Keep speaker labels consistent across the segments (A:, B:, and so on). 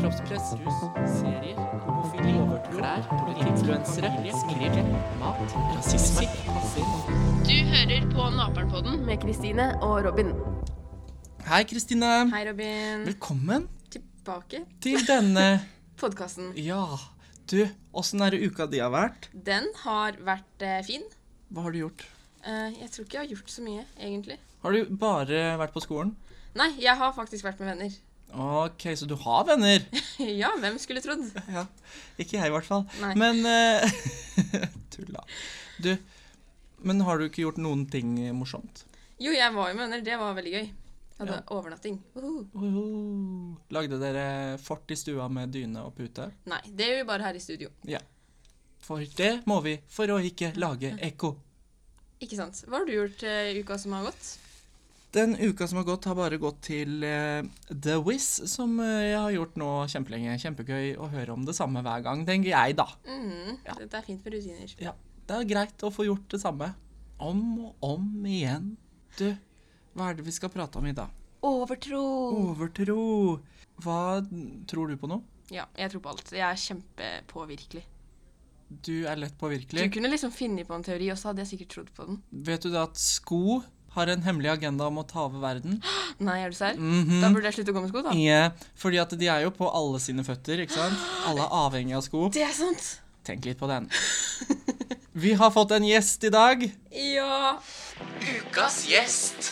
A: kroppspress, rus, serier, homofili, klær, influensere, skrive, mat, rasisme, passer.
B: Du hører på Naperen-podden med Kristine og Robin.
A: Hei, Kristine.
B: Hei, Robin.
A: Velkommen
B: Tilbake
A: til denne
B: podkasten.
A: Ja, du, åssen er det uka di har vært?
B: Den har vært eh, fin.
A: Hva har du gjort?
B: Eh, jeg tror ikke jeg har gjort så mye, egentlig.
A: Har du bare vært på skolen?
B: Nei, jeg har faktisk vært med venner.
A: Ok, så du har venner?
B: ja, hvem skulle trodd?
A: Ja, Ikke jeg, i hvert fall.
B: Nei.
A: Men eh, Tulla. Du, men har du ikke gjort noen ting morsomt?
B: Jo, jeg var jo med venner. Det var veldig gøy. Jeg hadde overnatting. Uhu.
A: Uhu. Lagde dere fort i stua med dyne og pute?
B: Nei, det gjør vi bare her i studio.
A: For det må vi for å ikke lage ekko.
B: Ikke sant. Hva har du gjort eh, i uka som har gått?
A: Den uka som har gått, har bare gått til eh, The Wiz, som eh, jeg har gjort nå kjempelenge. Kjempegøy å høre om det samme hver gang, tenker jeg, da.
B: Mm,
A: Ja.
B: Dette er fint med rutiner.
A: Ja, det er greit å få gjort det samme om og om igjen. Du, hva er det vi skal prate om i dag?
B: Overtro!
A: Overtro. Hva tror du på nå?
B: Ja, jeg tror på alt. Jeg er kjempepåvirkelig.
A: Du er lett
B: Du
A: påvirkelig.
B: kunne liksom finne på en teori, og så hadde jeg sikkert trodd på den.
A: Vet du det at sko har en hemmelig agenda om å ta over verden?
B: Nei, er du serr?
A: Mhm.
B: Da burde jeg slutte å gå med sko, da.
A: Ja, fordi at de er jo på alle sine føtter, ikke sant? Alle er avhengig av sko.
B: Det er sant!
A: Tenk litt på den. Vi har fått en gjest i dag.
B: Ja.
A: Ukas gjest.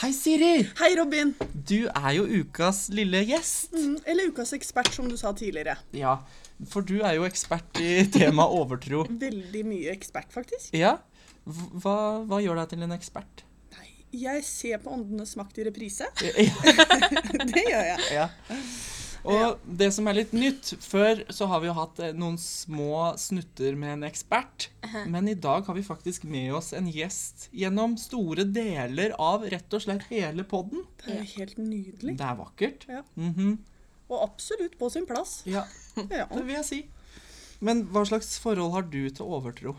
A: Hei, Siri.
C: Hei, Robin.
A: Du er jo ukas lille gjest.
C: Mm, Eller ukas ekspert, som du sa tidligere.
A: Ja, for du er jo ekspert i temaet overtro.
C: Veldig mye ekspert, faktisk.
A: Ja, Hv- hva, hva gjør deg til en ekspert?
C: Jeg ser på Åndenes makt i reprise.
A: Ja.
C: Det gjør jeg.
A: Ja. Og det som er litt nytt, før så har vi jo hatt eh, noen små snutter med en ekspert, men i dag har vi faktisk med oss en gjest gjennom store deler av rett og slett hele podden.
C: Det er jo helt nydelig.
A: Det er vakkert.
C: Ja.
A: Mhm.
C: Og absolutt på sin plass.
A: Ja,
C: Ja.
A: det vil jeg si. Men hva slags forhold har du til overtro?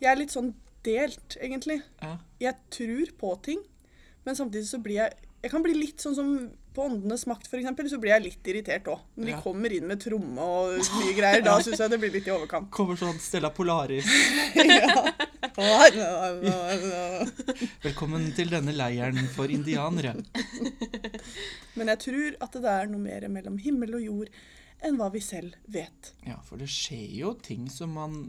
C: Jeg er litt sånn delt, egentlig.
A: Ja.
C: Jeg tror på ting, men samtidig så blir jeg Jeg kan bli litt sånn som på Åndenes makt, f.eks., så blir jeg litt irritert òg. Når de
A: Ja.
C: kommer inn med tromme og mye greier, da syns jeg det blir litt i overkant.
A: Kommer sånn Stella Polaris.
C: Men
A: Velkommen til denne leiren for indianere.
C: jeg tror at det er noe mer mellom himmel og jord enn hva vi selv vet.
A: Ja, for det skjer jo ting som man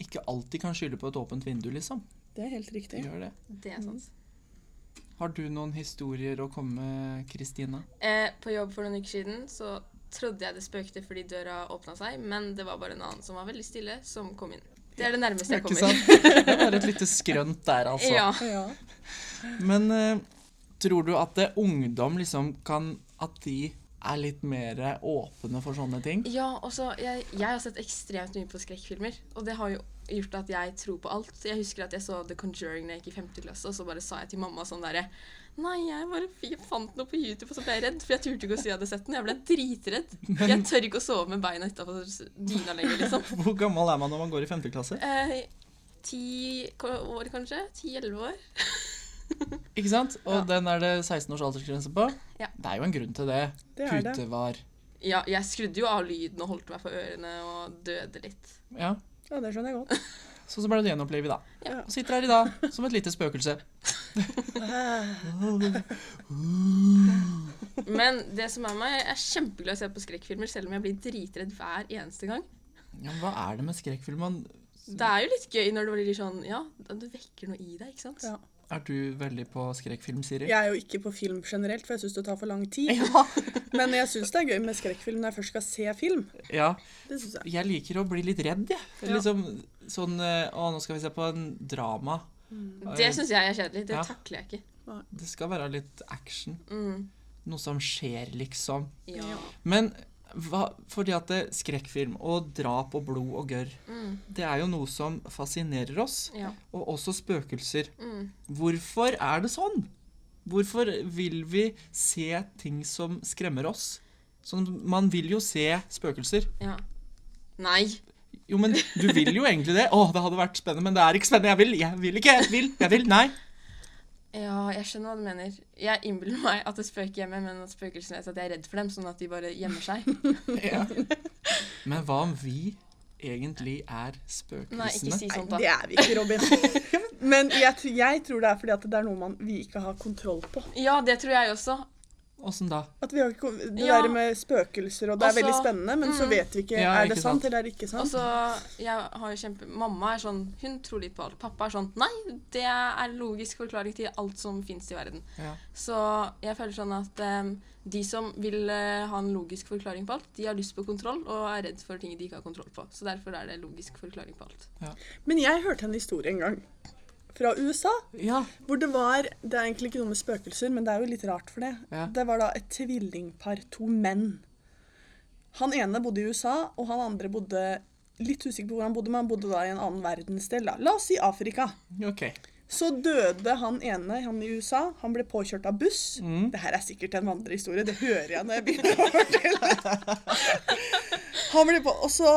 A: ikke alltid kan skylde på et åpent vindu, liksom.
C: Det er helt riktig.
A: Det gjør det.
B: Det er sant.
A: Har du noen historier å komme med, Kristina?
B: Eh, på jobb for noen uker siden så trodde jeg det spøkte fordi døra åpna seg, men det var bare en annen som var veldig stille, som kom inn. Det er det nærmeste jeg
A: Ikke
B: kommer.
A: sant? Det var et lite skrønt der, altså.
B: Ja.
C: Ja.
A: Men eh, tror du at det, ungdom liksom kan At de er litt mer åpne for sånne ting?
B: ja, og så jeg, jeg har sett ekstremt mye på skrekkfilmer, og det har jo gjort at jeg tror på alt. Jeg husker at jeg så The Conjuring da jeg gikk i 5. klasse, og så bare sa jeg til mamma sånn derre Nei, jeg bare f- jeg fant noe på YouTube, og så ble jeg redd, for jeg turte ikke å si jeg hadde sett den. Jeg ble dritredd. Jeg tør ikke å sove med beina utafor dyna lenger, liksom.
A: Hvor gammel er man når man går i 5. klasse?
B: Eh, Ti ko- år, kanskje? Ti-elleve år?
A: Ikke sant? Og den er det 16 års aldersgrense på?
B: Ja.
A: Det er jo en grunn til det.
C: Det er det.
A: Putevar.
B: Ja, jeg skrudde jo av lyden og holdt meg for ørene og døde litt.
A: Ja. Sånn
C: ja, det skjønner jeg godt.
A: Så så ble du gjenopplivet, da.
B: Ja.
A: Og sitter her i dag som et lite spøkelse.
B: Men det som er meg, jeg er kjempeglad i å se på skrekkfilmer, selv om jeg blir dritredd hver eneste gang.
A: Ja, men hva er det med skrekkfilm? Man-
B: Det er jo litt gøy når det blir sånn Ja, du vekker noe i deg, ikke sant?
C: Ja.
A: Er du veldig på skrekkfilm, Siri?
C: Jeg er jo ikke på film generelt, for jeg syns det tar for lang tid.
A: Ja.
C: Men jeg syns det er gøy med skrekkfilm når jeg først skal se film.
A: ja.
C: Det synes jeg.
A: Jeg liker å bli litt redd, jeg.
C: Ja.
A: Liksom sånn eh, Å, nå skal vi se på en drama.
B: Mm. Det syns jeg er kjedelig. Det
A: Ja.
B: takler jeg ikke.
A: Det skal være litt action.
B: Mm.
A: Noe som skjer, liksom.
B: Ja.
A: Men hva, fordi at det, skrekkfilm og drap og blod og gørr,
B: Mm.
A: det er jo noe som fascinerer oss.
B: ja.
A: Og også spøkelser.
B: Mm.
A: Hvorfor er det sånn? Hvorfor vil vi se ting som skremmer oss? Sånn, man vil jo se spøkelser.
B: ja. Nei.
A: Jo, men du vil jo egentlig det. Å, det hadde vært spennende, men det er ikke spennende. Jeg vil, jeg vil ikke, jeg vil, jeg vil. Nei.
B: Ja, jeg skjønner hva du mener. Jeg innbiller meg at det spøker hjemme, men at spøkelsene vet at jeg er redd for dem, sånn at de bare gjemmer seg.
A: Ja. Men hva om vi egentlig er spøkelsene?
B: Nei, ikke si
C: Nei,
B: sånt, da.
C: det er vi ikke, Robin. Men jeg, tr- jeg tror det er fordi at det er noe man, vi ikke har kontroll på.
B: Ja, det tror jeg også.
A: Åssen da?
C: At vi har ikke, kon- det
B: Ja.
C: der med spøkelser og det er
B: Altså,
C: veldig spennende, men så
B: mm.
C: vet vi ikke
A: Ja,
C: er det
A: ikke
C: sant
A: sant.
C: eller er det ikke
B: Og
C: sant.
B: så, jeg har jo kjempe... Mamma er sånn, hun tror litt på alt. Pappa er sånn, nei, det er logisk forklaring til alt som finnes i verden.
A: Ja.
B: Så jeg føler sånn at em, de som vil eh, ha en logisk forklaring på alt, de har lyst på kontroll og er redd for ting de ikke har kontroll på. Så derfor er det logisk forklaring på alt.
C: Men jeg hørte en historie en gang fra USA.
A: ja.
C: Hvor det var Det er egentlig ikke noe med spøkelser, men det er jo litt rart for det.
A: Ja.
C: Det var da et tvillingpar, to menn. Han ene bodde i USA, og han andre bodde Litt usikker på hvor han bodde, men han bodde da i en annen verdensdel. da. La oss si Afrika.
A: OK.
C: Så døde han ene, han i USA. Han ble påkjørt av buss.
A: Mm.
C: Det her er sikkert en vandrehistorie, det hører jeg når jeg begynner å fortelle. Han ble på, og så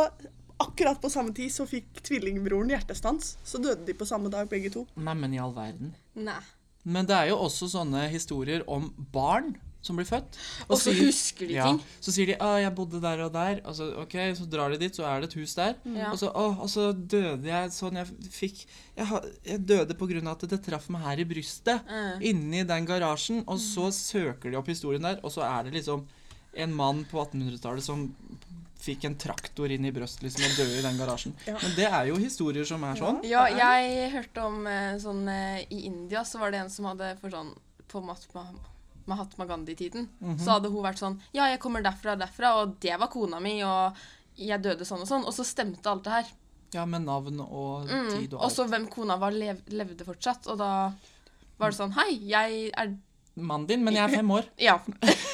C: akkurat på samme tid så fikk tvillingbroren hjertestans. Så døde de på samme dag, begge to.
A: Neimen, i all verden.
B: Nei.
A: Men det er jo også sånne historier om barn som blir født.
B: Og så
A: sier-
B: husker de ting.
A: Så sier de 'Å, jeg bodde der og der'. Og så, ok, så drar de dit, så er det et hus der.
B: Mm. Ja.
A: Og, så, å, og så døde jeg sånn jeg fikk Jeg, ha- jeg døde på grunn av at det traff meg her i brystet.
B: Mm.
A: Inni den garasjen. Og så søker de opp historien der, og så er det liksom en mann på 1800-tallet som fikk en traktor inn i brystet liksom, og døde i den garasjen.
C: Ja.
A: Men det er jo historier som er sånn.
B: Ja, jeg hørte om eh, sånn eh, I India så var det en som hadde for sånn På Mahatma, Mahatma Gandhi-tiden.
A: Mhm.
B: Så hadde hun vært sånn Ja, jeg kommer derfra og derfra, og det var kona mi, og jeg døde sånn og sånn. Og så stemte alt det her.
A: Ja, Med navn og
B: Mm.
A: tid og
B: Og
A: alt.
B: så hvem kona var, lev levde fortsatt. Og da var det sånn Hei, jeg er
A: Mannen din, men jeg er fem år.
B: Ja.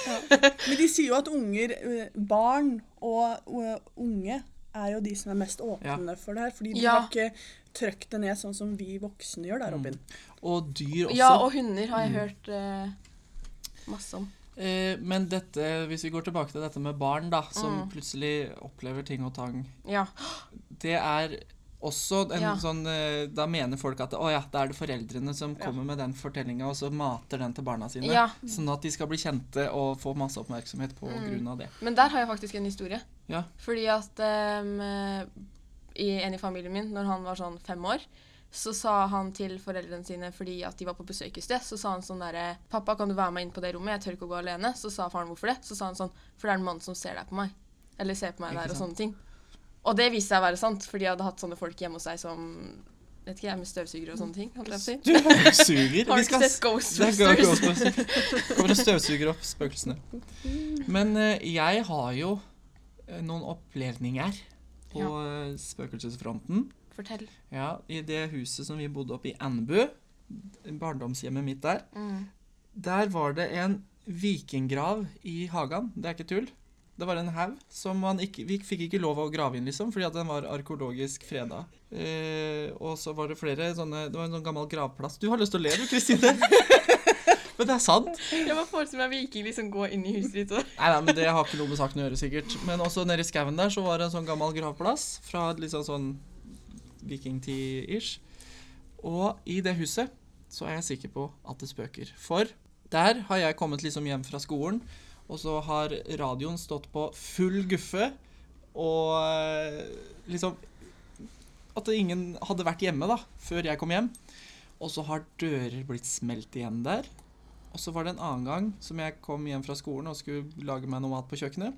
C: Men de sier jo at unger, eh, barn og eh, unge er jo de som er mest åpne for det her. Fordi de
B: Ja.
C: har ikke trøkt det ned sånn som vi voksne gjør da, Robin.
A: Og dyr også. Mm.
B: ja og hunder har jeg hørt eh, masse om.
A: Eh, men dette, hvis vi går tilbake til dette med barn da, som
B: Mm.
A: plutselig opplever ting og tang,
B: Ja.
A: det er også en
B: Ja.
A: sånn eh, Da mener folk at å ja, da er det foreldrene som
C: Ja.
A: kommer med den fortellinga, og så mater den til barna sine.
B: ja.
A: Sånn at de skal bli kjente og få masse oppmerksomhet på
B: Mm.
A: grunn av det.
B: Men der har jeg faktisk en historie.
A: Ja.
B: Fordi at em, i en i familien min, når han var sånn fem år, så sa han til foreldrene sine fordi at de var på besøk i sted, så sa han sånn derre 'Pappa, kan du være med inn på det rommet? Jeg tør ikke å gå alene.' Så sa faren hvorfor det. Så sa han sånn 'For det er en mann som ser deg på meg.' Eller ser på meg
A: Ikke
B: der, og
A: sant.
B: sånne ting. Og det viste seg å være sant, for de hadde hatt sånne folk hjemme hos seg som Vet ikke jeg, med støvsugere og sånne ting. Holdt jeg på å si.
A: Du støvsuger!
B: Har
A: Vi
B: du ikke
A: skal
B: sett
A: Det er Go-
B: Ghostbusters?
A: Ghostbusters. Kommer og støvsuger opp spøkelsene. Men eh, jeg har jo eh, noen opplevninger på eh, spøkelsesfronten.
B: Fortell.
A: Ja, i det huset som vi bodde oppe i Andebu, barndomshjemmet mitt der,
B: Mm.
A: der var det en vikinggrav i hagen. Det er ikke tull. Det var en haug som man ikke, vi fikk ikke lov å grave inn, liksom, fordi at den var arkeologisk freda. Eh, og så var det flere sånne Det var en sånn gammel gravplass. Du har lyst til å le, du, Kristine. Men det er sant.
B: Jeg bare forestiller meg viking liksom gå inn i huset ditt og
A: Nei, nei, men Det har ikke noe med saken å gjøre, sikkert. Men også nede i skauen der så var det en sånn gammel gravplass fra et litt sånn sånn vikingtid-ish. Og i det huset så er jeg sikker på at det spøker. For der har jeg kommet liksom hjem fra skolen, og så har radioen stått på full guffe, og eh, liksom At ingen hadde vært hjemme da, før jeg kom hjem. Og så har dører blitt smelt igjen der. Og så var det en annen gang som jeg kom hjem fra skolen og skulle lage meg noe mat på kjøkkenet.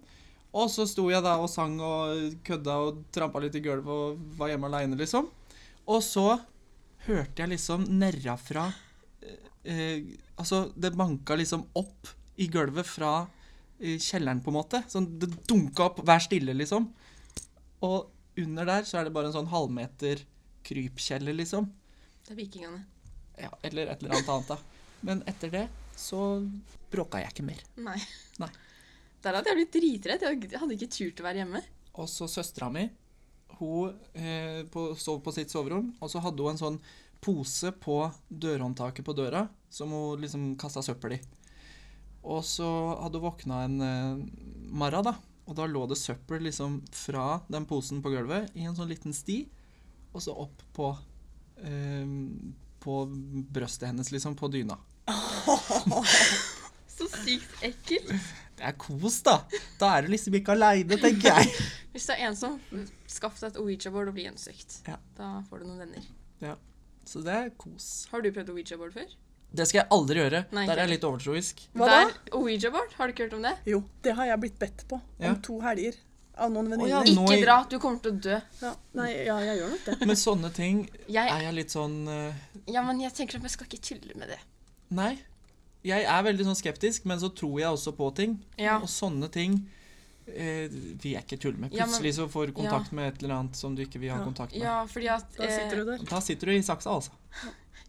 A: Og så sto jeg da og sang og kødda og trampa litt i gulvet og var hjemme aleine, liksom. Og så hørte jeg liksom nerrafra eh, eh, Altså, det banka liksom opp i gulvet fra eh, kjelleren, på en måte. Sånn, det dunka opp. Vær stille, liksom. Og under der så er det bare en sånn halvmeter krypkjeller, liksom.
B: Det er vikingene.
A: Ja, eller et eller annet annet, da. Men etter det så bråka jeg ikke mer.
B: Nei.
A: Nei.
B: Der hadde jeg blitt dritredd. Jeg hadde- Jeg hadde ikke turt å være hjemme.
A: Og så søstera mi, hun eh, på, sov på sitt soverom, og så hadde hun en sånn pose på dørhåndtaket på døra, som hun liksom kasta søppel i. Og så hadde hun våkna en eh, marra, da, og da lå det søppel liksom fra den posen på gulvet i en sånn liten sti, og så opp på eh, på brøstet hennes, liksom, på dyna.
B: Så sykt ekkelt.
A: Det er kos, da! Da er du liksom ikke aleine, tenker jeg.
B: Hvis det er en som skaffer deg et Ouija-board og blir hjemsøkt,
A: Ja.
B: da får du noen venner.
A: Ja. Så det er kos.
B: Har du prøvd Ouija-board før?
A: Det skal jeg aldri gjøre.
B: Nei,
A: Der er
B: ikke.
A: jeg litt overtroisk.
C: Hva da?
B: Der- Ouija-board, har du ikke hørt om det?
C: Jo, det har jeg blitt bedt på
A: Ja.
C: om to helger av noen
A: ja,
C: venninner.
A: nå
B: Ikke
A: i-
B: dra, du kommer til å dø.
C: ja. Nei, ja, jeg gjør nok det.
A: Men sånne ting
B: Jeg,
A: er jeg litt sånn eh,
B: ja, men jeg tenker at jeg skal ikke tulle med det.
A: Nei. Jeg er veldig sånn skeptisk, men så tror jeg også på ting.
B: Ja.
A: Og sånne ting eh, vil jeg ikke tulle med.
B: Ja, men-
A: Plutselig så får du kontakt med et eller annet som du ikke vil ha
C: Ja.
A: kontakt med.
B: Ja, fordi at
C: Da sitter
B: eh,
C: du der.
A: Da sitter du i saksa, altså.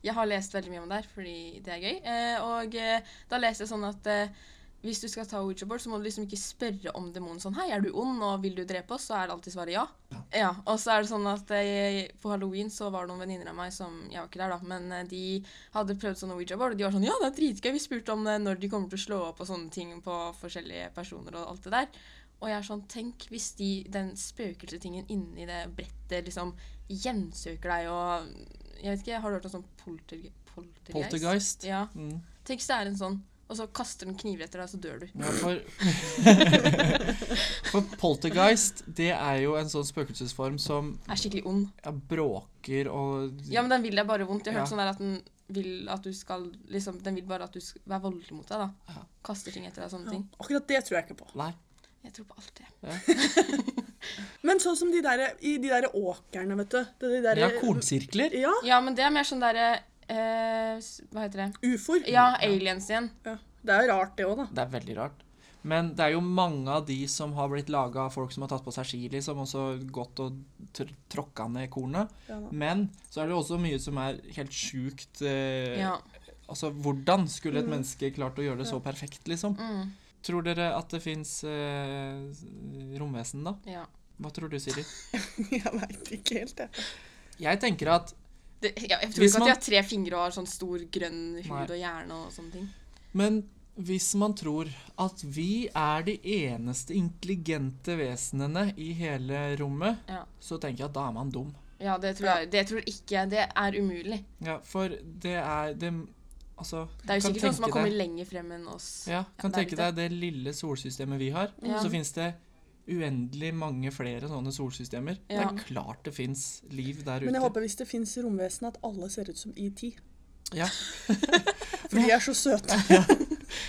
B: Jeg har lest veldig mye om det her, fordi det er gøy. Eh, og eh, da leste jeg sånn at eh, hvis du skal ta Ouija board, så må du liksom ikke spørre om demonen sånn Hei, er du ond, og vil du drepe oss? Så er det alltid svaret ja.
A: Ja.
B: ja og så er det sånn at eh, på halloween så var det noen venninner av meg som Jeg var ikke der, da, men eh, de hadde prøvd sånn Ouija board, og de var sånn Ja, det er dritgøy. Vi spurte om eh, når de kommer til å slå opp og sånne ting på forskjellige personer og alt det der. Og jeg er sånn, tenk hvis de, den spøkelsetingen inni det brettet liksom gjensøker deg og Jeg vet ikke, har du hørt om sånn polterge poltergeist?
A: Poltergeist.
B: Ja.
A: Mm. Mm.
B: Tenk hvis det er en sånn, og så kaster den kniver etter deg, så dør du.
A: Ja, for, for poltergeist, det er jo en sånn spøkelsesform som
B: Er skikkelig ond.
A: ja, bråker og
B: Ja, men den vil deg bare vondt. Jeg har hørt
A: Ja.
B: sånn der at den vil at du skal liksom, Den vil bare at du skal være voldelig mot deg, da.
A: Ja.
B: Kaster ting etter deg og sånne
C: Ja.
B: ting.
C: Akkurat det tror jeg ikke på.
A: Nei.
B: Jeg tror på alt det.
C: Men sånn som de der, i de der åkrene, vet du. Det- De der,
A: Ja, kornsirkler.
C: Ja,
B: Ja, men det er mer sånn derre eh, s- Hva heter
A: Mm.
B: det?
C: ufoer.
B: Ja, aliens igjen.
C: Ja. Det er jo rart det òg, da.
A: Det er veldig rart. Men det er jo mange av de som har blitt laga av folk som har tatt på seg ski, liksom, og så gått og tr tråkka ned kornet.
C: Ja, da.
A: Men så er det jo også mye som er helt sjukt eh,
B: Ja.
A: Altså, hvordan skulle et menneske klart å gjøre det så perfekt, liksom?
B: Mm,
A: Tror dere at det fins eh, romvesen, da?
B: ja.
A: Hva tror du, Siri?
C: Jeg veit ikke helt, jeg.
A: Jeg tenker at
B: Det, ja, jeg tror
A: Hvis
B: ikke at
A: man-
B: de har tre fingre og har sånn stor grønn hud
A: Nei.
B: og hjerne og sånne ting.
A: Men hvis man tror at vi er de eneste intelligente vesenene i hele rommet,
B: Ja.
A: så tenker jeg at da er man dum.
B: Ja, det tror
C: Ja.
B: jeg. Det tror ikke jeg. Det er umulig.
A: Ja, for det er det, Altså
B: Det er
A: kan
B: jo sikkert noen som har
A: tenke deg-
B: kommet lenger frem enn oss.
A: Ja, kan
B: det er
A: tenke deg
B: litt
A: det lille solsystemet vi har.
B: Ja.
A: Så fins det uendelig mange flere sånne solsystemer. Det
B: Ja.
A: er klart det fins liv der
C: Men jeg
A: ute.
C: håper hvis det fins romvesen, at alle ser ut som ET.
A: Ja.
C: For de er så søte.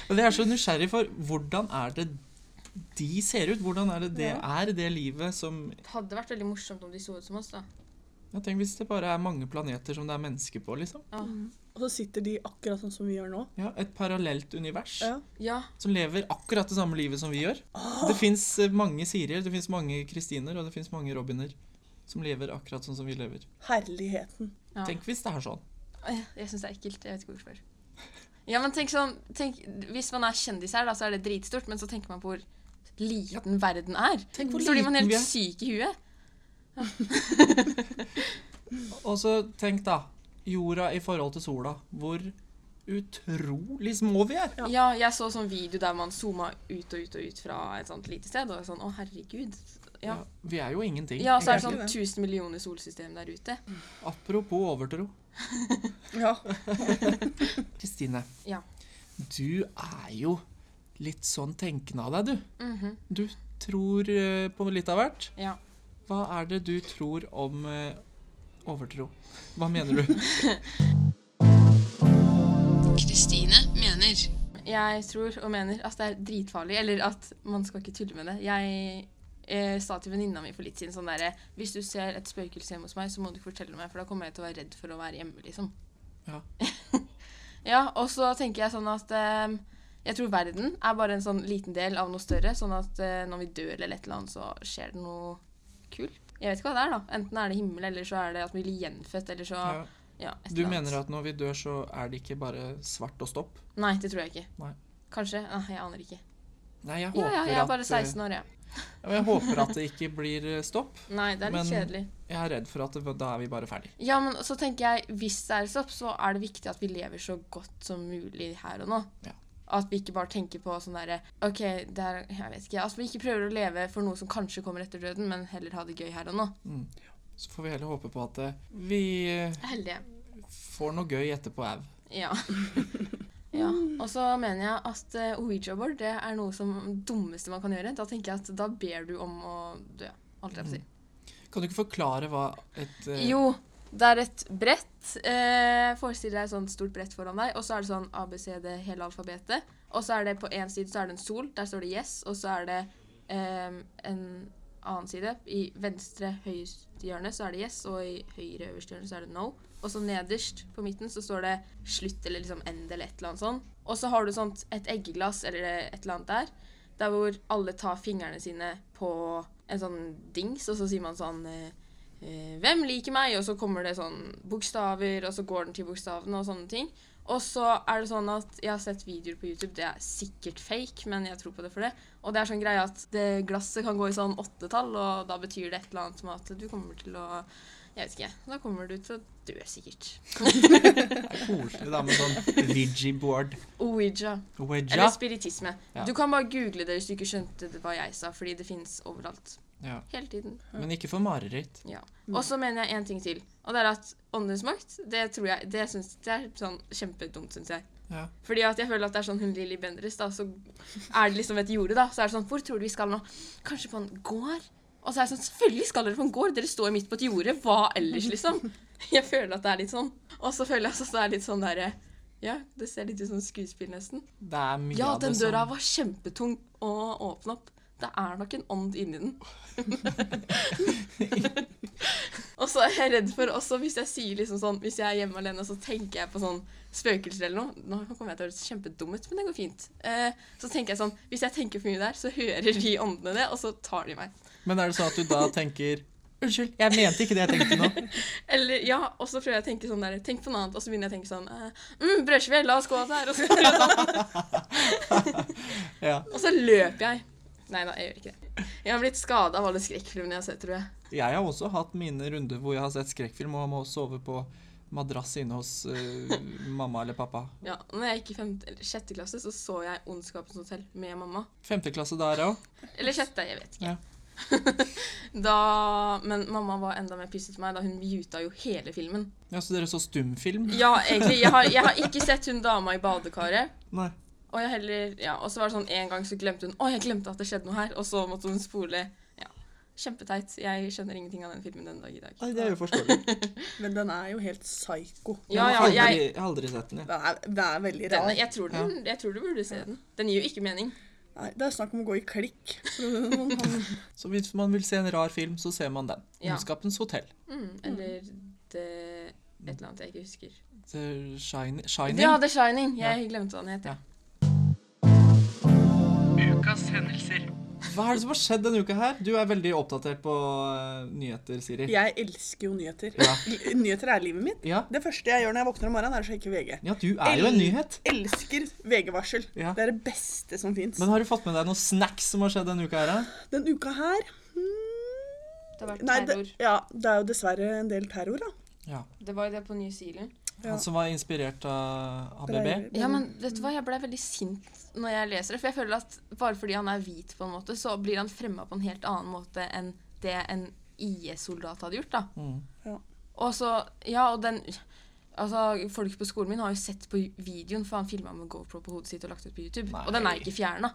A: Og det er så nysgjerrig for hvordan er det de ser ut? Hvordan er det det er, det livet som
B: Det hadde vært veldig morsomt om de så ut som oss, da.
A: ja, Tenk hvis det bare er mange planeter som det er mennesker på, liksom.
B: Ja.
C: Og så sitter de akkurat sånn som vi gjør nå.
A: Ja, Et parallelt univers
C: Ja.
B: ja.
A: som lever akkurat det samme livet som vi gjør. Det fins mange Sirier, det fins mange Kristiner, og det fins mange Robiner som lever akkurat sånn som vi lever.
C: Herligheten.
B: Ja.
A: Tenk hvis det er sånn.
B: Jeg, jeg syns det er ekkelt. Jeg vet ikke hvorfor. Ja, men tenk sånn tenk, Hvis man er kjendis her, da, så er det dritstort, men så tenker man på hvor liten verden er.
A: Tenk hvor
B: så blir man
A: liten
B: helt
A: vi er.
B: syk i huet.
A: Og så tenk da, jorda i forhold til sola, hvor utrolig små vi er.
C: Ja.
B: Ja. jeg så sånn video der man zooma ut og ut og ut fra et sånt lite sted, og jeg sånn Å, herregud. Ja.
A: Ja, vi er jo ingenting.
B: Ja, så er det
C: egentlig
B: sånn 1000 millioner solsystem der ute.
A: Apropos overtro.
C: Ja.
A: Kristine,
B: Ja.
A: du er jo litt sånn tenkende av deg, du.
B: Mhm,
A: Du tror eh, på litt av hvert.
B: ja.
A: Hva er det du tror om eh, overtro? Hva mener du?
D: Kristine mener.
B: Jeg tror og mener at det er dritfarlig, eller at man skal ikke tulle med det. Jeg eh, sa til venninna mi for litt siden sånn derre Hvis du ser et spøkelse hjemme hos meg, så må du ikke fortelle meg, for da kommer jeg til å være redd for å være hjemme, liksom.
A: Ja.
B: ja, og så tenker jeg sånn at eh, jeg tror verden er bare en sånn liten del av noe større, sånn at eh, når vi dør eller et eller annet, så skjer det noe kult. Jeg vet ikke hva det er, da. Enten er det himmel, eller så er det at vi blir gjenfødt, eller så
A: Ja.
B: ja, et
A: Du
B: eller annet.
A: mener at når vi dør, så er det ikke bare svart og stopp?
B: Nei, det tror jeg ikke.
A: Nei.
B: Kanskje. Nei, jeg aner ikke.
A: Nei, jeg
B: Ja,
A: håper,
B: ja, jeg er bare
A: at,
B: 16 år, jeg.
A: eh, jeg håper at det ikke blir eh, stopp.
B: Nei, det er litt
A: Men-
B: kjedelig.
A: Jeg er redd for at det, da er vi bare ferdig.
B: Ja, men så tenker jeg, hvis det er stopp, så er det viktig at vi lever så godt som mulig her og nå.
A: Ja.
B: At vi ikke bare tenker på sånn derre OK, det er Jeg vet ikke. At vi ikke prøver å leve for noe som kanskje kommer etter døden, men heller ha det gøy her og nå.
A: Så får vi heller håpe på at eh, vi eh,
B: Heldige.
A: får noe gøy etterpå au.
B: Ja. ja. Og så mener jeg at eh, Ouija-board det er noe som dummeste man kan gjøre. Da tenker jeg at da ber du om å dø. Alt jeg får si.
A: Kan du ikke forklare hva et eh,
B: Jo, det er et brett. Eh, Forestill deg et sånt stort brett foran deg, og så er det sånn ABCD, hele alfabetet. Og så er det på én side så er det en sol, der står det yes, og så er det eh, en annen side. I venstre høyre hjørne så er det yes, og i høyre øverste hjørne så er det no. Og så nederst på midten så står det slutt eller liksom end eller et eller annet sånn. Og så har du sånt et eggeglass eller et eller annet der, der hvor alle tar fingrene sine på en sånn dings, og så sier man sånn eh, eh, 'Hvem liker meg?' Og så kommer det sånn bokstaver, og så går den til bokstavene og sånne ting. Og så er det sånn at jeg har sett videoer på YouTube, det er sikkert fake, men jeg tror på det for det. Og det er sånn greie at det glasset kan gå i sånn åttetall, og da betyr det et eller annet som at du kommer til å Jeg vet ikke. Da kommer du til å dø, sikkert.
A: er koselig da med sånn Vigi-board?
B: Ouija. Eller
A: Wedja?
B: spiritisme.
A: Ja.
B: Du kan bare google det hvis du ikke skjønte det- hva jeg sa, fordi det finnes overalt.
A: Ja.
B: Hele tiden.
A: Men ikke for mareritt.
B: Ja. Og så mener jeg én ting til, og det er at åndenes makt, det tror jeg Det, syns- det er sånn kjempedumt, syns jeg.
A: Ja.
B: Fordi at jeg føler at det er sånn hun Lilly Bendriss, da, så er det liksom et jorde, da. Så er det sånn Hvor tror du vi skal nå? Kanskje på en gård? Og så er det sånn Selvfølgelig skal dere på en gård! Dere står midt på et jorde. Hva ellers, liksom? Jeg føler at det er litt sånn. Og så føler jeg også at det er litt sånn derre Ja, det ser litt ut som skuespill, nesten.
A: Det er mye
B: Ja,
A: av det
B: den døra
A: som
B: var kjempetung å åpne opp. Det er nok en ånd inni den. og så er jeg redd for også, hvis jeg sier liksom sånn Hvis jeg er hjemme alene, så tenker jeg på sånn spøkelser eller noe Nå kommer jeg til å høres kjempedum ut, men det går fint. Eh, så tenker jeg sånn Hvis jeg tenker for mye der, så hører de åndene det, og så tar de meg.
A: Men er det sånn at du da tenker Unnskyld, jeg mente ikke det jeg tenkte nå.
B: Eller ja, og så prøver jeg å tenke sånn der Tenk på noe annet, og så begynner jeg å tenke sånn eh, mm, Brødskive, la oss gå der. Og så, og
A: Ja.
B: så løper jeg. Nei da, jeg gjør ikke det. Jeg har blitt skada av alle skrekkfilmene jeg har sett, tror jeg.
A: Jeg har også hatt mine runder hvor jeg har sett skrekkfilm og må sove på madrass inne hos eh, mamma eller pappa.
B: Ja, når jeg gikk i femte, eller sjette klasse, så så jeg Ondskapens hotell med mamma.
A: Femte klasse der òg.
B: Eller sjette, jeg vet ikke.
A: Ja.
B: da, men mamma var enda mer pysset til meg, da hun muta jo hele filmen.
A: Ja, så dere så stumfilm?
B: Ja, egentlig. Jeg har, jeg har ikke sett hun dama i badekaret.
A: Nei.
B: Og jeg heller, ja, og så var det sånn en gang så glemte hun Å, jeg glemte at det skjedde noe her. Og så måtte hun spole. Ja, Kjempeteit. Jeg skjønner ingenting av den filmen den dag i dag.
A: Nei, det er jo forståelig.
C: Men den er jo helt psyko.
B: Ja, ja,
A: jeg har
B: jeg,
A: aldri, jeg har aldri sett den. jeg.
C: Den er, den er veldig
B: den,
C: rar.
B: jeg, tror den, jeg tror du burde se den. Den gir jo ikke mening.
C: Nei, det er snakk om å gå i klikk. Noen-
A: Så hvis man vil se en rar film, så ser man den.
B: Ja.
A: 'Ondskapens hotell'.
B: Mm, eller det Et eller annet jeg ikke husker.
A: The Shine- Shining.
B: Ja, The Shining. Jeg glemte hva den het.
A: Ja.
B: Ja.
A: Hva er det som har skjedd denne uka her? Du er veldig oppdatert på eh, nyheter, Siri.
C: Jeg elsker jo nyheter.
A: Ja.
C: L- Nyheter er livet mitt.
A: Ja.
C: Det første jeg gjør når jeg våkner om morgenen, er å sjekke VG.
A: ja, du er jo en nyhet.
C: Elsker VG-varsel.
A: Ja.
C: Det er det beste som fins.
A: Men har du fått med deg noen snacks som har skjedd denne uka her? da?
C: Den uka her hmm,
B: Det har vært
C: Nei, det,
B: terror.
C: ja, det er jo dessverre en del terror, da.
A: Ja.
B: Det var jo det på New Zealand.
C: Ja.
A: Han som var inspirert av ABB?
B: Ja, men vet du hva, jeg ble veldig sint når jeg leser det. For jeg føler at bare fordi han er hvit, på en måte, så blir han fremma på en helt annen måte enn det en IS-soldat hadde gjort, da.
A: Mm.
C: Ja.
B: Og så Ja, og den Altså, Folk på skolen min har jo sett på videoen, for han filma med GoPro på hodet sitt og lagt ut på YouTube. Og den
A: Nei.
B: er ikke fjerna.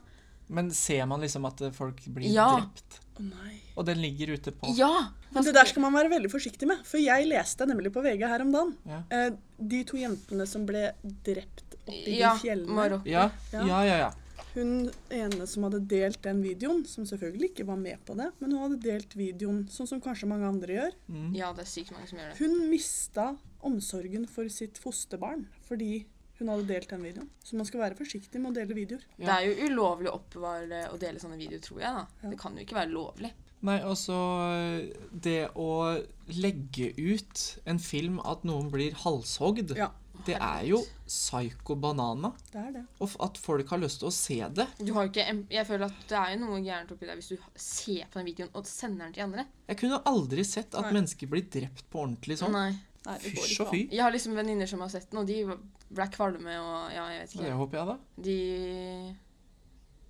A: Men ser man liksom at eh, folk blir
B: Ja.
A: drept?
C: Å, nei.
A: Og den ligger ute på
B: Ja!
C: Men det der skal man være veldig forsiktig med, for jeg leste nemlig på VG her om dagen
A: Ja.
C: eh, de to jentene som ble drept oppi
B: Ja,
C: de fjellene.
B: Marokko.
A: Ja, ja, ja. ja.
C: Hun ene som hadde delt den videoen, som selvfølgelig ikke var med på det, men hun hadde delt videoen sånn som kanskje mange andre gjør.
A: Mm.
B: Ja, det er sykt mange som gjør det.
C: Hun mista omsorgen for sitt fosterbarn fordi hun hadde delt den videoen. Så man skal være forsiktig med å dele videoer.
B: Det er jo ulovlig å oppbevare og dele sånne videoer, tror jeg. da. Det kan jo ikke være lovlig.
A: Nei, altså eh, Det å legge ut en film at noen blir halshogd,
C: Ja.
A: det er jo psyko-banana.
C: Det er det.
A: Og f- at folk har lyst til å se det.
B: Du har jo ikke, em- jeg føler at Det er jo noe gærent oppi der hvis du ser på den videoen og sender den til andre.
A: Jeg kunne aldri sett at
C: Nei.
A: mennesker blir drept på ordentlig sånn.
B: Nei.
C: Nei, det går
A: Fysj
C: ikke
A: og
C: an.
A: fy.
B: Jeg har liksom venninner som har sett den, og de ble kvalme og ja, jeg vet
A: Det
B: ikke.
A: håper jeg, da.
B: De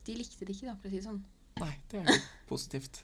B: De likte det ikke, da, for å si det sånn.
A: Nei, det er jo positivt.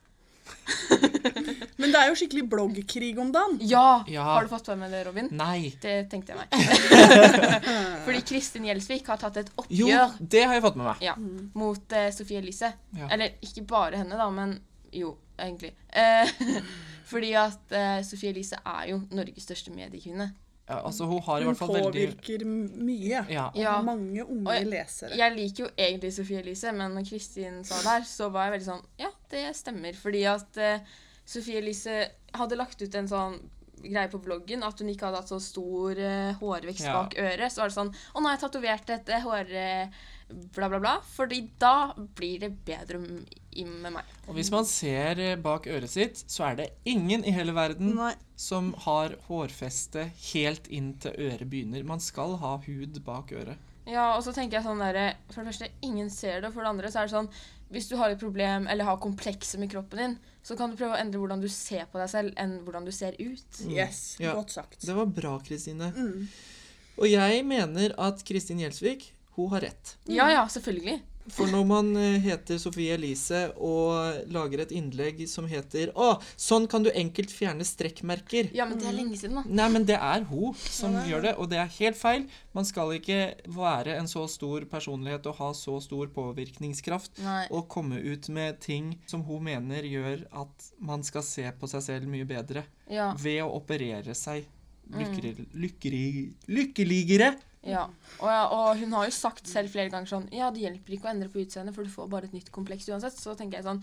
C: Men det er jo skikkelig bloggkrig om dagen.
B: Ja!
A: Ja.
B: Har du fått med deg det, Robin?
A: Nei.
B: Det tenkte jeg meg. Fordi Kristin Gjelsvik har tatt et
A: Jo,
B: oppgjør
A: det har jeg fått med meg.
B: ja, mot eh, Sofie Elise.
A: Ja.
B: Eller ikke bare henne, da, men jo, egentlig. Eh, fordi at eh, Sofie Elise er jo Norges største mediekvinne.
A: Ja, altså, hun har i
C: Hun
A: hvert fall veldig
C: påvirker m- mye.
A: ja.
B: Ja.
C: Og mange unge
B: Og-
C: lesere.
B: Jeg liker jo egentlig Sofie Elise, men når Kristin sa det her, så var jeg veldig sånn Ja, det stemmer. Fordi at uh, Sofie Elise hadde lagt ut en sånn greie på bloggen at hun ikke hadde hatt så stor eh, hårvekst
A: Ja.
B: bak øret. Så var det sånn Å, nå har jeg tatovert et eh, hår... eh, Bla, bla, bla. Fordi da blir det bedre m- i- med meg.
A: Og hvis man ser eh, bak øret sitt, så er det ingen i hele verden
C: Nei.
A: som har hårfeste helt inn til øret begynner. Man skal ha hud bak øret.
B: Ja, og så tenker jeg sånn der, For det første, ingen ser det. Og for det andre, så er det sånn Hvis du har et problem eller har komplekser med kroppen din, så kan du prøve å endre hvordan du ser på deg selv, enn hvordan du ser ut.
C: Yes,
A: Mm. Ja.
C: godt sagt.
A: Det var bra, Kristine. Og jeg mener at Kristin Gjelsvik, hun har rett.
B: Ja, ja, selvfølgelig.
A: For når man eh, heter Sofie Elise og lager et innlegg som heter Å, sånn kan du enkelt fjerne strekkmerker.
B: Ja, men det er lenge siden, da.
A: Nei, men det er hun som gjør det, og det er helt feil. Man skal ikke være en så stor personlighet og ha så stor påvirkningskraft
B: Nei.
A: og komme ut med ting som hun mener gjør at man skal se på seg selv mye bedre
B: Ja, Mm.
A: ved å operere seg lykkeri, lykkeri, lykkeligere.
B: ja. Og, ja, og hun har jo sagt selv flere ganger sånn Ja, det hjelper ikke å endre på utseendet, for du får bare et nytt kompleks uansett. Så tenker jeg sånn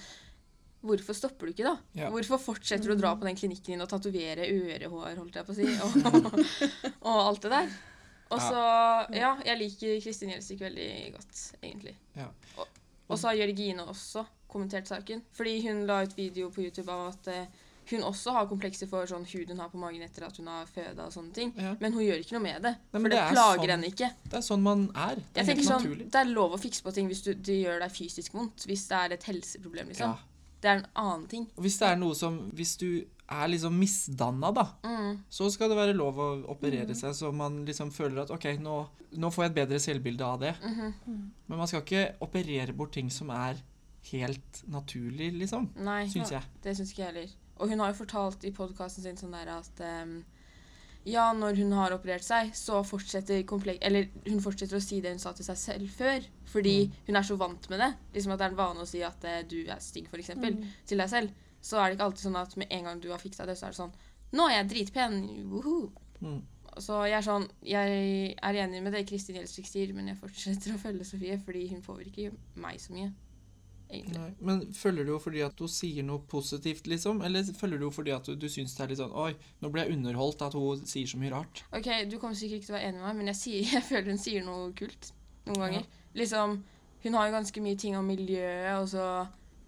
B: Hvorfor stopper du ikke, da?
A: Ja.
B: Hvorfor fortsetter du å dra på den klinikken din og tatovere ørehår, holdt jeg på å si, og, og alt det der? Og så Ja, jeg liker Kristin Gjelsvik veldig godt, egentlig.
A: Ja.
B: Og, og så har Jørgine også kommentert saken. Fordi hun la ut video på YouTube av at eh, hun også har komplekser for sånn hud hun har på magen etter at hun har føda og sånne ting.
A: Ja.
B: Men hun gjør ikke noe med det.
A: men
B: for det,
A: det er
B: plager
A: sånn-
B: henne ikke.
A: Det er sånn man er. Det
B: Jeg
A: er helt
B: tenker sånn,
A: naturlig.
B: Det er lov å fikse på ting hvis du, det gjør deg fysisk vondt. Hvis det er et helseproblem, liksom.
A: Ja.
B: Det er en annen ting.
A: Og hvis det er noe som Hvis du er liksom misdanna, da,
B: Mm.
A: så skal det være lov å operere seg så man liksom føler at OK, nå, nå får jeg et bedre selvbilde av det.
B: Mm-hmm.
A: Men man skal ikke operere bort ting som er helt naturlig, liksom.
B: Nei,
A: Syns jeg.
B: det syns ikke jeg heller. Og hun har jo fortalt i podkasten sin sånn der at ehm, ja, når hun har operert seg, så fortsetter komplek... Eller hun fortsetter å si det hun sa til seg selv før. Fordi
A: Mm.
B: hun er så vant med det. Liksom at det er en vane å si at eh, du er stygg, f.eks. eksempel, Til deg selv. Så er det ikke alltid sånn at med en gang du har fiksa det, så er det sånn Nå er jeg dritpen! Woohoo!
A: Mm.
B: Så jeg er sånn Jeg er enig med det Kristin Gjelsvik sier, men jeg fortsetter å følge Sofie fordi hun påvirker jo meg så mye. Egentlig.
A: Nei. Men følger du jo fordi at hun sier noe positivt, liksom? Eller følger du jo fordi at du, du syns det er litt sånn Oi, nå ble jeg underholdt at hun sier så mye rart.
B: Ok, du kommer sikkert ikke til å være enig med meg, men jeg, sier, jeg føler hun sier noe kult noen ganger. Liksom, Hun har jo ganske mye ting om miljøet, og så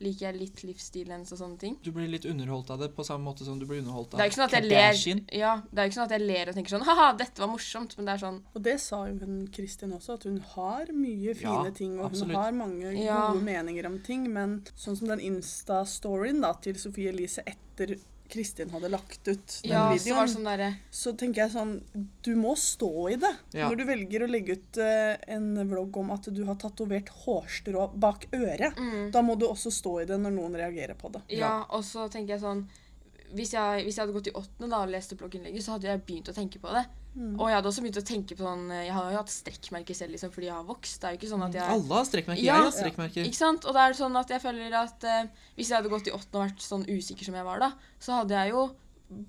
B: liker jeg litt livsstilen hennes og sånne ting.
A: Du blir litt underholdt av det på samme måte som du blir underholdt av
B: Det er jo ikke sånn at jeg
A: Kardashian.
B: ler, ja, det er jo ikke sånn at jeg ler og tenker sånn Ha-ha, dette var morsomt, men det er sånn
C: Og det sa jo hun Kristin også, at hun har mye fine
A: Ja,
C: ting, og
A: absolutt.
C: hun har mange
B: Ja.
C: gode meninger om ting, men sånn som den Insta-storyen da, til Sofie Elise etter Kristin hadde lagt ut den
B: Ja, så var
C: videoen,
B: det sånn derre
C: så tenker jeg sånn Du må stå i det.
A: Ja.
C: Når du velger å legge ut eh, en vlogg om at du har tatovert hårstrå bak øret,
B: Mm.
C: da må du også stå i det når noen reagerer på det.
B: Ja, og så tenker jeg sånn hvis jeg, hvis jeg hadde gått i åttende da, og lest blogginnlegget, så hadde jeg begynt å tenke på det. Og jeg hadde også begynt å tenke på sånn Jeg har jo hatt strekkmerker selv liksom, fordi jeg har vokst. Det er jo ikke sånn at jeg
A: Alle har strekkmerker.
B: Ja.
A: Jeg har strekkmerker.
B: Ikke sant? Og det er sånn at jeg føler at eh, hvis jeg hadde gått i åttende og vært sånn usikker som jeg var da, så hadde jeg jo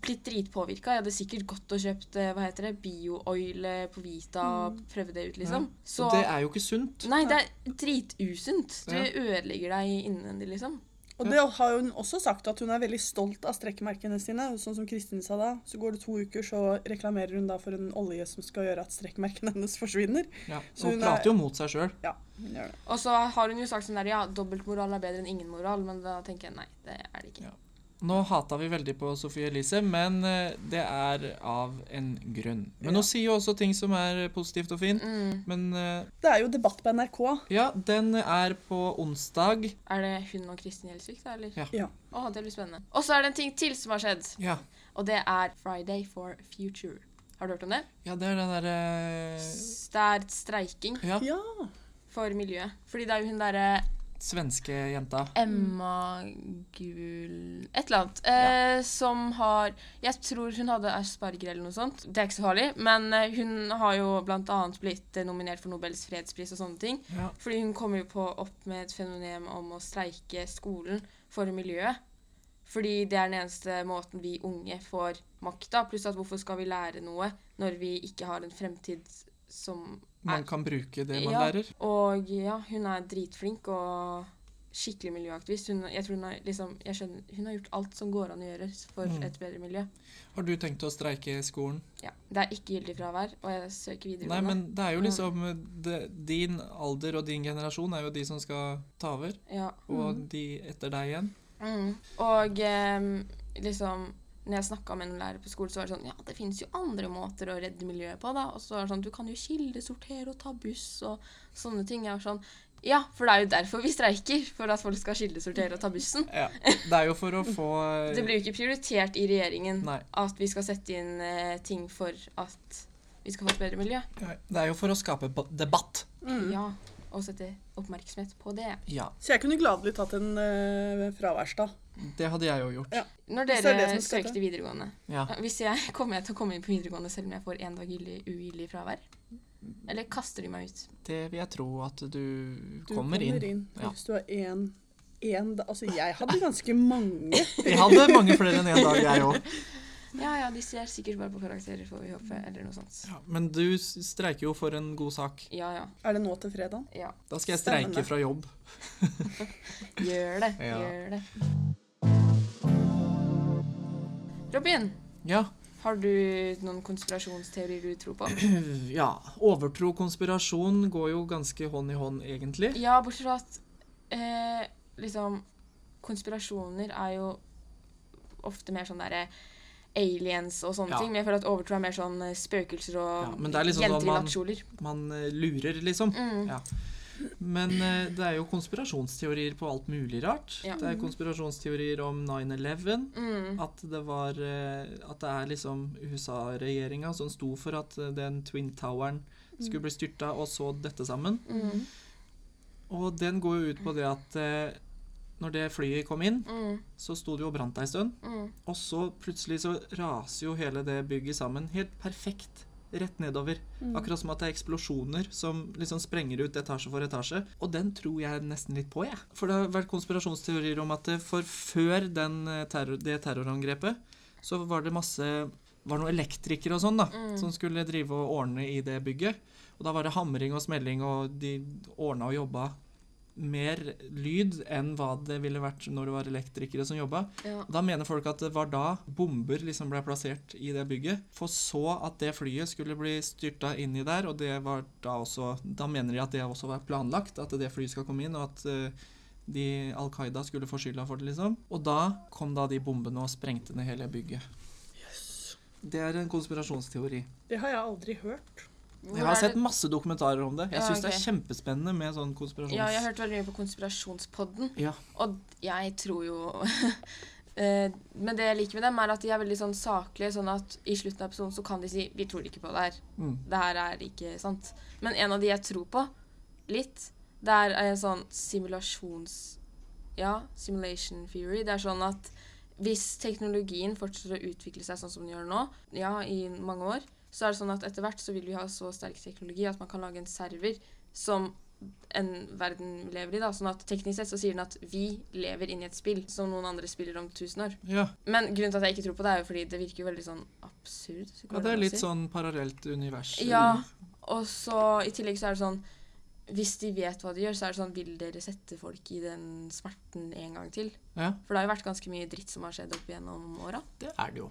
B: blitt dritpåvirka. Jeg hadde sikkert gått og kjøpt eh, hva heter det, bio-oil eh, på Vita og prøvd det ut, liksom. Så
A: Mm. Det er jo ikke sunt.
B: Nei, det er dritusunt. Du
A: Ja.
B: ødelegger deg innvendig, liksom.
C: Og det har hun også sagt, at hun er veldig stolt av strekkmerkene sine. og Sånn som Kristin sa da, så går det to uker, så reklamerer hun da for en olje som skal gjøre at strekkmerkene hennes forsvinner.
A: Ja.
C: Så
A: Hun
C: hun er-
A: prater jo mot seg sjøl.
C: Ja, hun gjør det.
B: Og så har hun jo sagt sånn der ja, dobbeltmoral er bedre enn ingen moral, men da tenker jeg nei, det er det ikke.
A: Ja. Nå hata vi veldig på Sofie Elise, men eh, det er av en grunn. Men hun sier jo også ting som er eh, positivt og fint.
B: Mm.
A: Men eh,
C: Det er jo debatt på NRK.
A: ja, den er på onsdag.
B: Er det hun og Kristin Gjelsvik, da, eller?
A: Ja.
C: Ja.
B: Å, det blir spennende. Og så er det en ting til som har skjedd,
A: Ja,
B: og det er Friday for future. Har du hørt om det?
A: ja det er den eh, derre
B: S- Det er streiking
A: ja.
C: Ja.
B: for miljøet. Fordi det er jo hun derre
A: svenske jenta.
B: Emma Gul Et eller annet. Eh, Som har Jeg tror hun hadde asperger eller noe sånt. Det er ikke så farlig. Men eh, hun har jo bl.a. blitt eh, nominert for Nobels fredspris og sånne ting.
A: Ja.
B: Fordi hun kommer jo på opp med et fenomen om å streike skolen for miljøet. Fordi det er den eneste måten vi unge får makta. Pluss at hvorfor skal vi lære noe når vi ikke har en fremtid som
A: Man kan bruke det man
B: ja,
A: lærer.
B: Og ja, hun er dritflink og skikkelig miljøaktivist. Hun, jeg tror hun, har, liksom, jeg skjønner, hun har gjort alt som går an å gjøre for
A: Mm.
B: et bedre miljø.
A: Har du tenkt å streike i skolen?
B: Ja, det er ikke gyldig fravær, og jeg Mm. søker
A: Nei,
B: videregående.
A: men det er jo
B: Ja.
A: liksom det, Din alder og din generasjon er jo de som skal ta over.
B: ja.
A: Og de etter deg igjen.
B: Mm. Og em, liksom når jeg snakka med noen lærere på skolen, så var det sånn Ja, det fins jo andre måter å redde miljøet på, da. Og så var det sånn Du kan jo kildesortere og ta buss og sånne ting. Jeg var sånn Ja, for det er jo derfor vi streiker. For at folk skal kildesortere og ta bussen.
A: Ja. Det er jo for å få
B: Det blir jo ikke prioritert i regjeringen
A: Nei.
B: at vi skal sette inn eh, ting for at vi skal få et bedre miljø.
A: Det er jo for å skape ba- debatt.
C: Mm.
B: Ja, og sette oppmerksomhet på det.
A: Ja.
C: Så jeg kunne gladelig tatt en uh, fraværsdag.
A: Det hadde jeg jo gjort.
C: Ja.
B: Når
C: Så er
B: dere
C: det som skal
B: søkte
C: til.
B: videregående
A: Ja.
B: ja, Hvis jeg kommer jeg til å komme inn på videregående selv om jeg får én dag gyldig ugyldig fravær? Eller kaster de meg ut?
A: Det vil jeg tro at du,
C: Du
A: kommer, inn. Ja.
C: Hvis du har én én da- Altså, jeg hadde ganske mange.
A: Jeg hadde mange flere enn én dag, jeg òg.
B: Ja ja, de ser sikkert bare på karakterer, får vi håpe, eller noe sånt.
A: Ja, men du s- streiker jo for en god sak.
B: Ja ja.
C: Er det nå til fredag?
B: ja.
A: Da skal jeg
C: Spennende.
A: streike fra jobb.
B: Gjør det.
A: Ja.
B: Gjør det. Robin,
A: Ja.
B: har du noen konspirasjonsteorier du tror på?
A: ja. Overtro og konspirasjon går jo ganske hånd i hånd, egentlig.
B: Ja, bortsett fra at eh, liksom Konspirasjoner er jo ofte mer sånn derre aliens og sånne
A: Ja.
B: ting. Men jeg føler at overtro er mer sånn eh, spøkelser og
A: Ja, men det er liksom sånn
B: jenter i
A: man-
B: nattkjoler.
A: Man eh, lurer, liksom.
B: Mm.
A: Ja. Men eh, det er jo konspirasjonsteorier på alt mulig rart.
B: Ja.
A: Det er konspirasjonsteorier om 9-11.
B: Mm.
A: At det var eh, At det er liksom USA-regjeringa som sto for at eh, den Twin Toweren skulle bli styrta, og så dette sammen.
B: Mm.
A: Og den går jo ut på det at eh, når det flyet kom inn,
B: Mm.
A: så sto det jo og brant ei stund.
B: Mm.
A: Og så plutselig så raser jo hele det bygget sammen helt perfekt rett nedover. Akkurat som at det er eksplosjoner som liksom sprenger ut etasje for etasje. Og den tror jeg nesten litt på, jeg. For det har vært konspirasjonsteorier om at det for før den eh, terror, det terrorangrepet, så var det masse var noen elektrikere og sånn da,
B: Mm.
A: som skulle drive og ordne i det bygget. Og da var det hamring og smelling, og de ordna og jobba mer lyd enn hva det ville vært når det var elektrikere som jobba.
B: Ja.
A: Da mener folk at det var da bomber liksom ble plassert i det bygget, for så at det flyet skulle bli styrta inn i der, og det var da også Da mener de at det også var planlagt, at det flyet skal komme inn, og at eh, de Al Qaida skulle få skylda for det, liksom. Og da kom da de bombene og sprengte ned hele bygget. Det er en konspirasjonsteori.
C: Det har jeg aldri hørt.
B: Hvor
A: Jeg har
B: er
A: sett
B: det-
A: masse dokumentarer om det. Jeg
B: Ja,
A: syns det
B: ok.
A: er kjempespennende med sånn konspirasjons...
B: ja, jeg har hørt veldig mye på Konspirasjonspodden,
A: Ja.
B: og jeg tror jo eh, Men det jeg liker med dem, er at de er veldig sånn saklige, sånn at i slutten av episoden så kan de si 'Vi tror ikke på det her'.
A: Mm.
B: det her er ikke sant. Men en av de jeg tror på, litt, det er en sånn simulasjons... Ja, simulation theory. Det er sånn at hvis teknologien fortsetter å utvikle seg sånn som den gjør nå, ja, i mange år, så er det sånn at etter hvert så vil vi ha så sterk teknologi at man kan lage en server som en verden vi lever i, da. Sånn at teknisk sett så sier den at vi lever inn i et spill som noen andre spiller om tusen år.
A: Ja.
B: Men grunnen til at jeg ikke tror på det, er jo fordi det virker jo veldig sånn absurd. går
A: ja, det
B: an å
A: er litt
B: si.
A: sånn parallelt univers.
B: Ja, og så i tillegg så er det sånn Hvis de vet hva de gjør, så er det sånn Vil dere sette folk i den smerten en gang til?
A: Ja,
B: For det har jo vært ganske mye dritt som har skjedd opp gjennom åra.
A: det er det jo.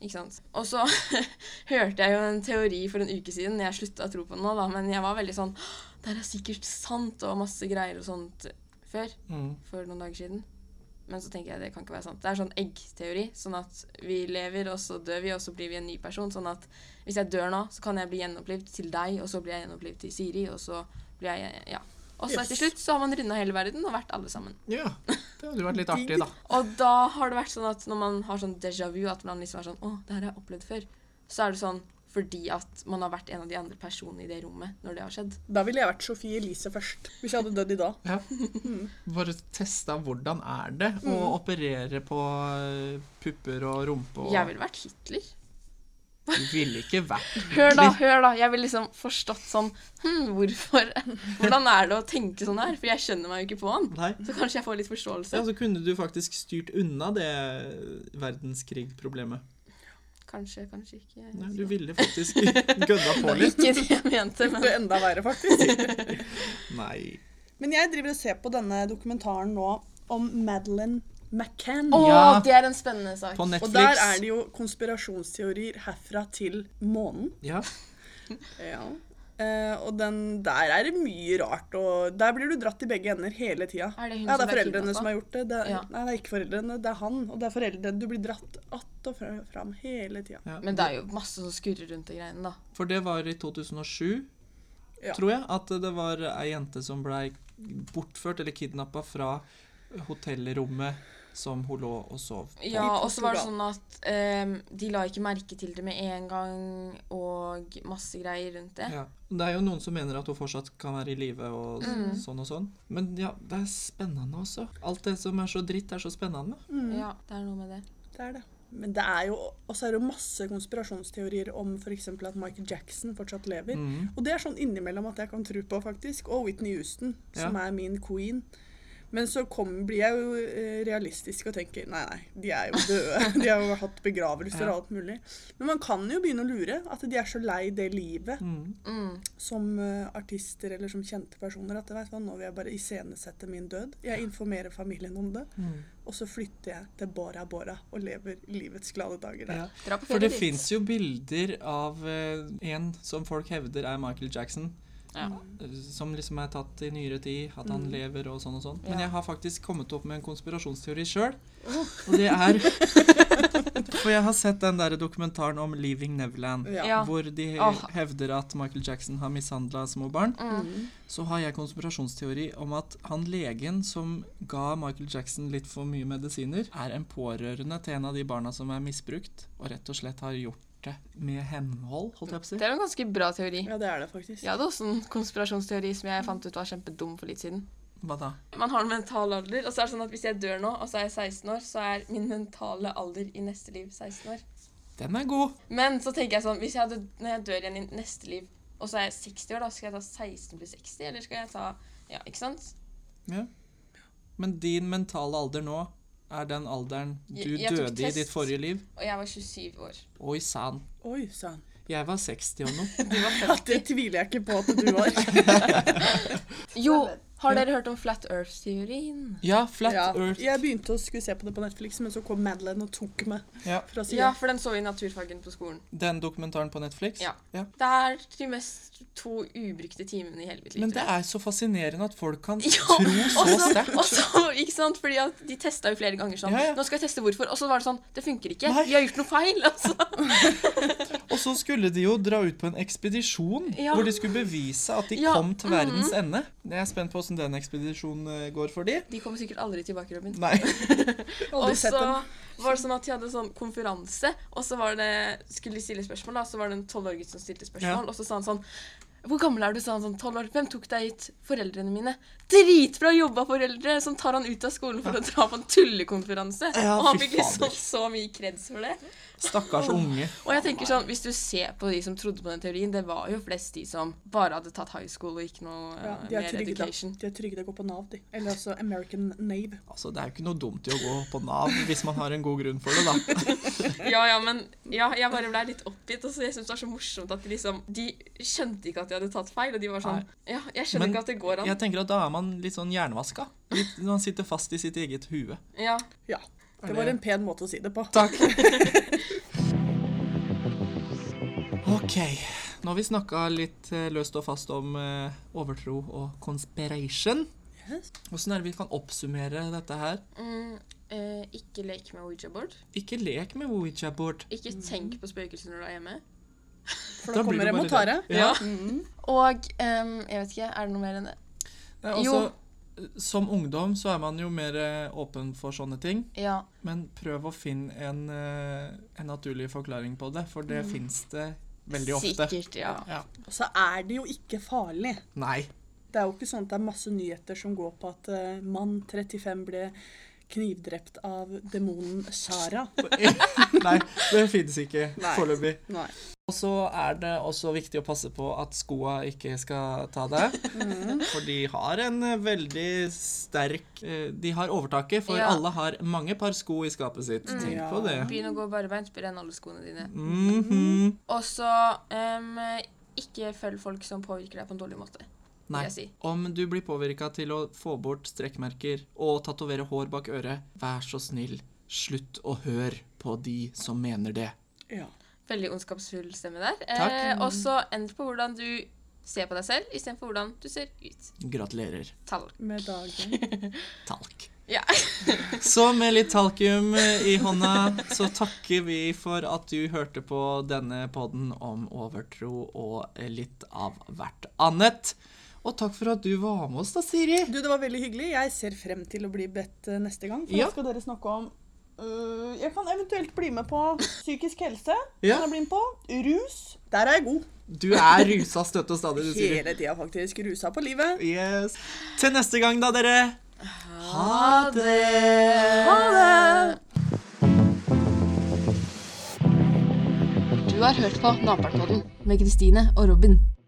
B: Ikke sant? Og så hørte jeg jo en teori for en uke siden. Jeg slutta å tro på den nå, da, men jeg var veldig sånn Det her er sikkert sant, og masse greier og sånt før.
A: Mm.
B: For noen dager siden. Men så tenker jeg det kan ikke være sant. Det er sånn eggteori. Sånn at vi lever, og så dør vi, og så blir vi en ny person. Sånn at hvis jeg dør nå, så kan jeg bli gjenopplivd til deg, og så blir jeg gjenopplivd til Siri, og så blir jeg Ja. Og så
C: Yes.
B: til slutt så har man runda hele verden og vært alle sammen.
A: Ja, det hadde jo vært litt artig, da.
B: Og da har det vært sånn at når man har sånn déjà vu, at man liksom er sånn Å, det her har jeg opplevd før. Så er det sånn fordi at man har vært en av de andre personene i det rommet når det har skjedd.
C: Da ville jeg vært Sophie Elise først, hvis jeg hadde dødd i dag.
A: Ja. Bare testa hvordan er det å operere på eh, pupper og rumpe og
B: Jeg ville vært Hitler.
A: Du ville ikke vært
B: Hør da, hør da. Jeg ville liksom forstått sånn hm, hvorfor Hvordan er det å tenke sånn her? For jeg skjønner meg jo ikke på han.
A: Nei.
B: Så kanskje jeg får litt
A: Ja,
B: forståelse.
A: så kunne du faktisk styrt unna det verdenskrigproblemet.
B: Kanskje, kanskje ikke.
A: Nei, Du ville faktisk gønna på litt.
B: Ikke det jeg mente,
C: Det
B: men
C: er enda verre, faktisk.
A: Nei.
C: Men jeg driver og ser på denne dokumentaren nå om Madeleine McCann.
B: Å,
A: Ja.
B: det er en spennende sak.
A: På
C: Og der
A: Netflix.
C: er det jo konspirasjonsteorier herfra til månen.
A: Ja.
C: Ja. Eh, og den der er det mye rart. Og der blir du dratt i begge ender hele tida.
B: Er det hun
C: ja,
B: som
C: det er
B: ble
C: foreldrene
B: kidnappet?
C: som har gjort det. det er,
B: Ja.
C: Nei, det er ikke foreldrene, det er han. Og det er foreldrene. Du blir dratt att og fra- fram hele tida.
A: ja.
B: Men det er jo masse som skurrer rundt de greiene, da.
A: For det var i 2007,
C: Ja.
A: tror jeg, at det var ei jente som blei bortført eller kidnappa fra hotellrommet som hun lå og sov på.
B: Ja, og så var det sånn
C: Portugal.
B: at ehm, de la ikke merke til det med en gang, og masse greier rundt det.
A: Ja. Det er jo noen som mener at hun fortsatt kan være i live og sånn og sånn. Men ja, det er spennende også. Alt det som er så dritt, er så spennende.
B: Ja, det er noe med det.
C: Det er det. Men det er jo Og så er det jo masse konspirasjonsteorier om f.eks. at Michael Jackson fortsatt lever.
A: Mhm.
C: Og det er sånn innimellom at jeg kan tro på, faktisk. Og Whitney Houston, som
A: Ja.
C: er min queen. Men så kom, blir jeg jo eh, realistisk og tenker nei, nei, de er jo døde. De har jo hatt begravelser
A: Ja.
C: og alt mulig. Men man kan jo begynne å lure at de er så lei det livet
A: Mm.
B: Mm.
C: som eh, artister eller som kjente personer at vet du hva, nå vil jeg bare iscenesette min død. Jeg informerer familien om det.
A: Mm.
C: Og så flytter jeg til Bora Bora og lever livets glade dager der.
A: Ja.
B: Dra på
A: For det
B: ferie dit.
A: fins jo bilder av eh, en som folk hevder er Michael Jackson.
B: Ja. Mm.
A: eh, Som liksom er tatt i nyere tid, at han lever og sånn og sånn. Men
B: Ja.
A: jeg har faktisk kommet opp med en konspirasjonsteori sjøl. Og det er For jeg har sett den der dokumentaren om 'Leaving Neverland'.
C: Ja.
B: Ja.
A: Hvor de
B: Åh.
A: hevder at Michael Jackson har mishandla små barn.
B: Mm.
A: Så har jeg konspirasjonsteori om at han legen som ga Michael Jackson litt for mye medisiner, er en pårørende til en av de barna som er misbrukt, og rett og slett har gjort det med henhold, holdt jeg på å
B: Det
A: si.
B: er en ganske bra teori.
C: Ja, det er det faktisk.
B: Jeg hadde også en konspirasjonsteori som jeg fant ut var kjempedum for litt siden.
A: Hva da?
B: Man har en mental alder, og så er det sånn at hvis jeg dør nå, og så er jeg 16 år, så er min mentale alder i neste liv 16 år.
A: Den er god.
B: Men så tenker jeg sånn, hvis jeg hadde, når jeg dør igjen i neste liv, og så er jeg 60 år, da skal jeg ta 16 pluss 60, eller skal jeg ta Ja, ikke sant?
A: Ja. Men din mentale alder nå er den alderen du
B: Jeg- jeg tok
A: døde i ditt
B: test.
A: forrige liv.
B: Og jeg var 27 år.
A: Oi sann.
C: Oi sann.
A: Jeg var 60 og noe.
B: Du var
C: Ja,
B: 50.
C: det tviler jeg ikke på at du var.
B: Jo, har dere hørt om Flat Earth-teorien?
A: Ja, Flat
C: Ja.
A: Earth.
C: Jeg begynte å skulle se på det på Netflix, men så kom Madeleine og tok meg
A: Ja.
C: fra
B: Ja,
C: sida.
B: for den så vi i naturfagen på skolen.
A: Den dokumentaren på Netflix.
B: Ja. Det er de mest to ubrukte timene i hele mitt liv.
A: Men
B: tror
A: det
B: jeg.
A: er så fascinerende at folk kan
B: Ja,
A: tro så sterkt.
B: Og så, ikke sant, fordi at De testa jo flere ganger sånn
A: Ja, ja.
B: Nå skal jeg teste hvorfor. Og så var det sånn Det funker ikke.
A: Nei.
B: Vi har gjort noe feil. Altså.
A: Og så skulle de jo dra ut på en ekspedisjon
B: Ja.
A: hvor de skulle bevise at de
B: Ja, Mm.
A: kom til verdens ende. Jeg er spent på åssen den ekspedisjonen eh, går for de.
B: De kommer sikkert aldri tilbake, Robin.
A: Nei.
B: Og
C: Aldri
B: så
C: sett dem.
B: var det sånn at de hadde sånn konferanse, og så var det, skulle de stille spørsmål, da, så var det en tolvårgutt som stilte spørsmål,
A: Ja.
B: og så sa han sånn hvor gammel er du? sa han sånn, 12 år. Hvem tok deg hit? Foreldrene mine. Dritbra jobba, foreldre! Som tar han ut av skolen for å dra på en tullekonferanse.
A: Ja,
B: og han
A: fy
B: fikk liksom
A: fader.
B: så mye kreds for det.
A: Stakkars unge.
B: Og jeg tenker sånn, Hvis du ser på de som trodde på den teorien, det var jo flest de som bare hadde tatt high school og ikke noe
C: Ja,
B: eh,
C: de er
B: mer
C: trygge da.
B: education.
C: De er trygge til å gå på Nav, de. Eller altså American Nave.
A: Altså, Det er jo ikke noe dumt i å gå på Nav hvis man har en god grunn for det, da.
B: Ja, ja, men ja, jeg bare ble litt oppgitt. Altså, jeg synes det er så morsomt at de liksom De skjønte ikke at de hadde tatt feil, og de var sånn Ja, jeg skjønner
A: Men
B: ikke at det går an.
A: Jeg tenker at Da er man litt sånn hjernevaska. Litt, man sitter fast i sitt eget hue.
B: Ja.
C: Ja.
A: Er
C: Det var
A: det-
C: en pen måte å si det på.
A: Takk. OK. Nå har vi snakka litt eh, løst og fast om eh, overtro og conspiration.
C: Yes.
A: Åssen er det vi kan oppsummere dette her?
B: Mm, eh, ikke lek med Ouija-board.
A: Ikke lek med Ouija-board.
B: Ikke
C: Mm.
B: tenk på spøkelser når du er hjemme.
C: For da,
A: blir
C: kommer
A: du
C: jeg
A: bare
C: mot Tare.
A: redd. Ja.
B: Ja. Og em, jeg vet ikke, er det noe mer enn det?
A: Nei, også, Eh, altså, Som ungdom så er man jo mer eh, åpen for sånne ting,
B: Ja.
C: Mm.
A: men prøv å finne en, eh, en naturlig forklaring på det, for det finnes det Veldig ofte.
B: Sikkert, ja.
A: Ja.
C: Og så er det jo ikke farlig.
A: Nei.
C: Det er jo ikke sånn at det er masse nyheter som går på at eh, mann 35 ble knivdrept av demonen Sara.
A: Nei, det finnes ikke
C: Nei.
A: foreløpig.
C: Nei.
A: Og så er det også viktig å passe på at skoa ikke skal ta deg. For de har en eh, veldig sterk eh, De har overtaket, for
B: Ja.
A: alle har mange par sko i skapet sitt. Tenk
C: Ja.
A: på det.
B: Begynn å gå barbeint, brenn alle skoene dine.
A: Mhm.
B: Og så em, ikke følg folk som påvirker deg på en dårlig måte.
A: Nei.
B: jeg si.
A: Om du blir påvirka til å få bort strekkmerker og tatovere hår bak øret, vær så snill, slutt å høre på de som mener det.
C: Ja.
B: Veldig ondskapsfull stemme der.
A: Takk.
B: Eh, og så endr på hvordan du ser på deg selv, istedenfor hvordan du ser ut.
A: Gratulerer.
B: Talk.
C: Med dagen.
A: Talk.
B: Ja.
A: Så med litt talkium i hånda, så takker vi for at du hørte på denne podden om overtro og litt av hvert annet. Og takk for at du var med oss da, Siri.
C: Du, det var veldig hyggelig. Jeg ser frem til å bli bedt eh, neste gang. For
A: Ja.
C: da skal dere snakke om øh, Jeg kan eventuelt bli med på psykisk helse.
A: Ja.
C: Kan jeg bli med på Rus. Der er jeg god.
A: Du er rusa støtt og stadig, du, Siri.
C: Hele tida, faktisk. Rusa på livet.
A: Yes. Til neste gang, da, dere.
B: Ha det! Ha det!
D: Du har hørt på Naperpodden med Kristine og Robin.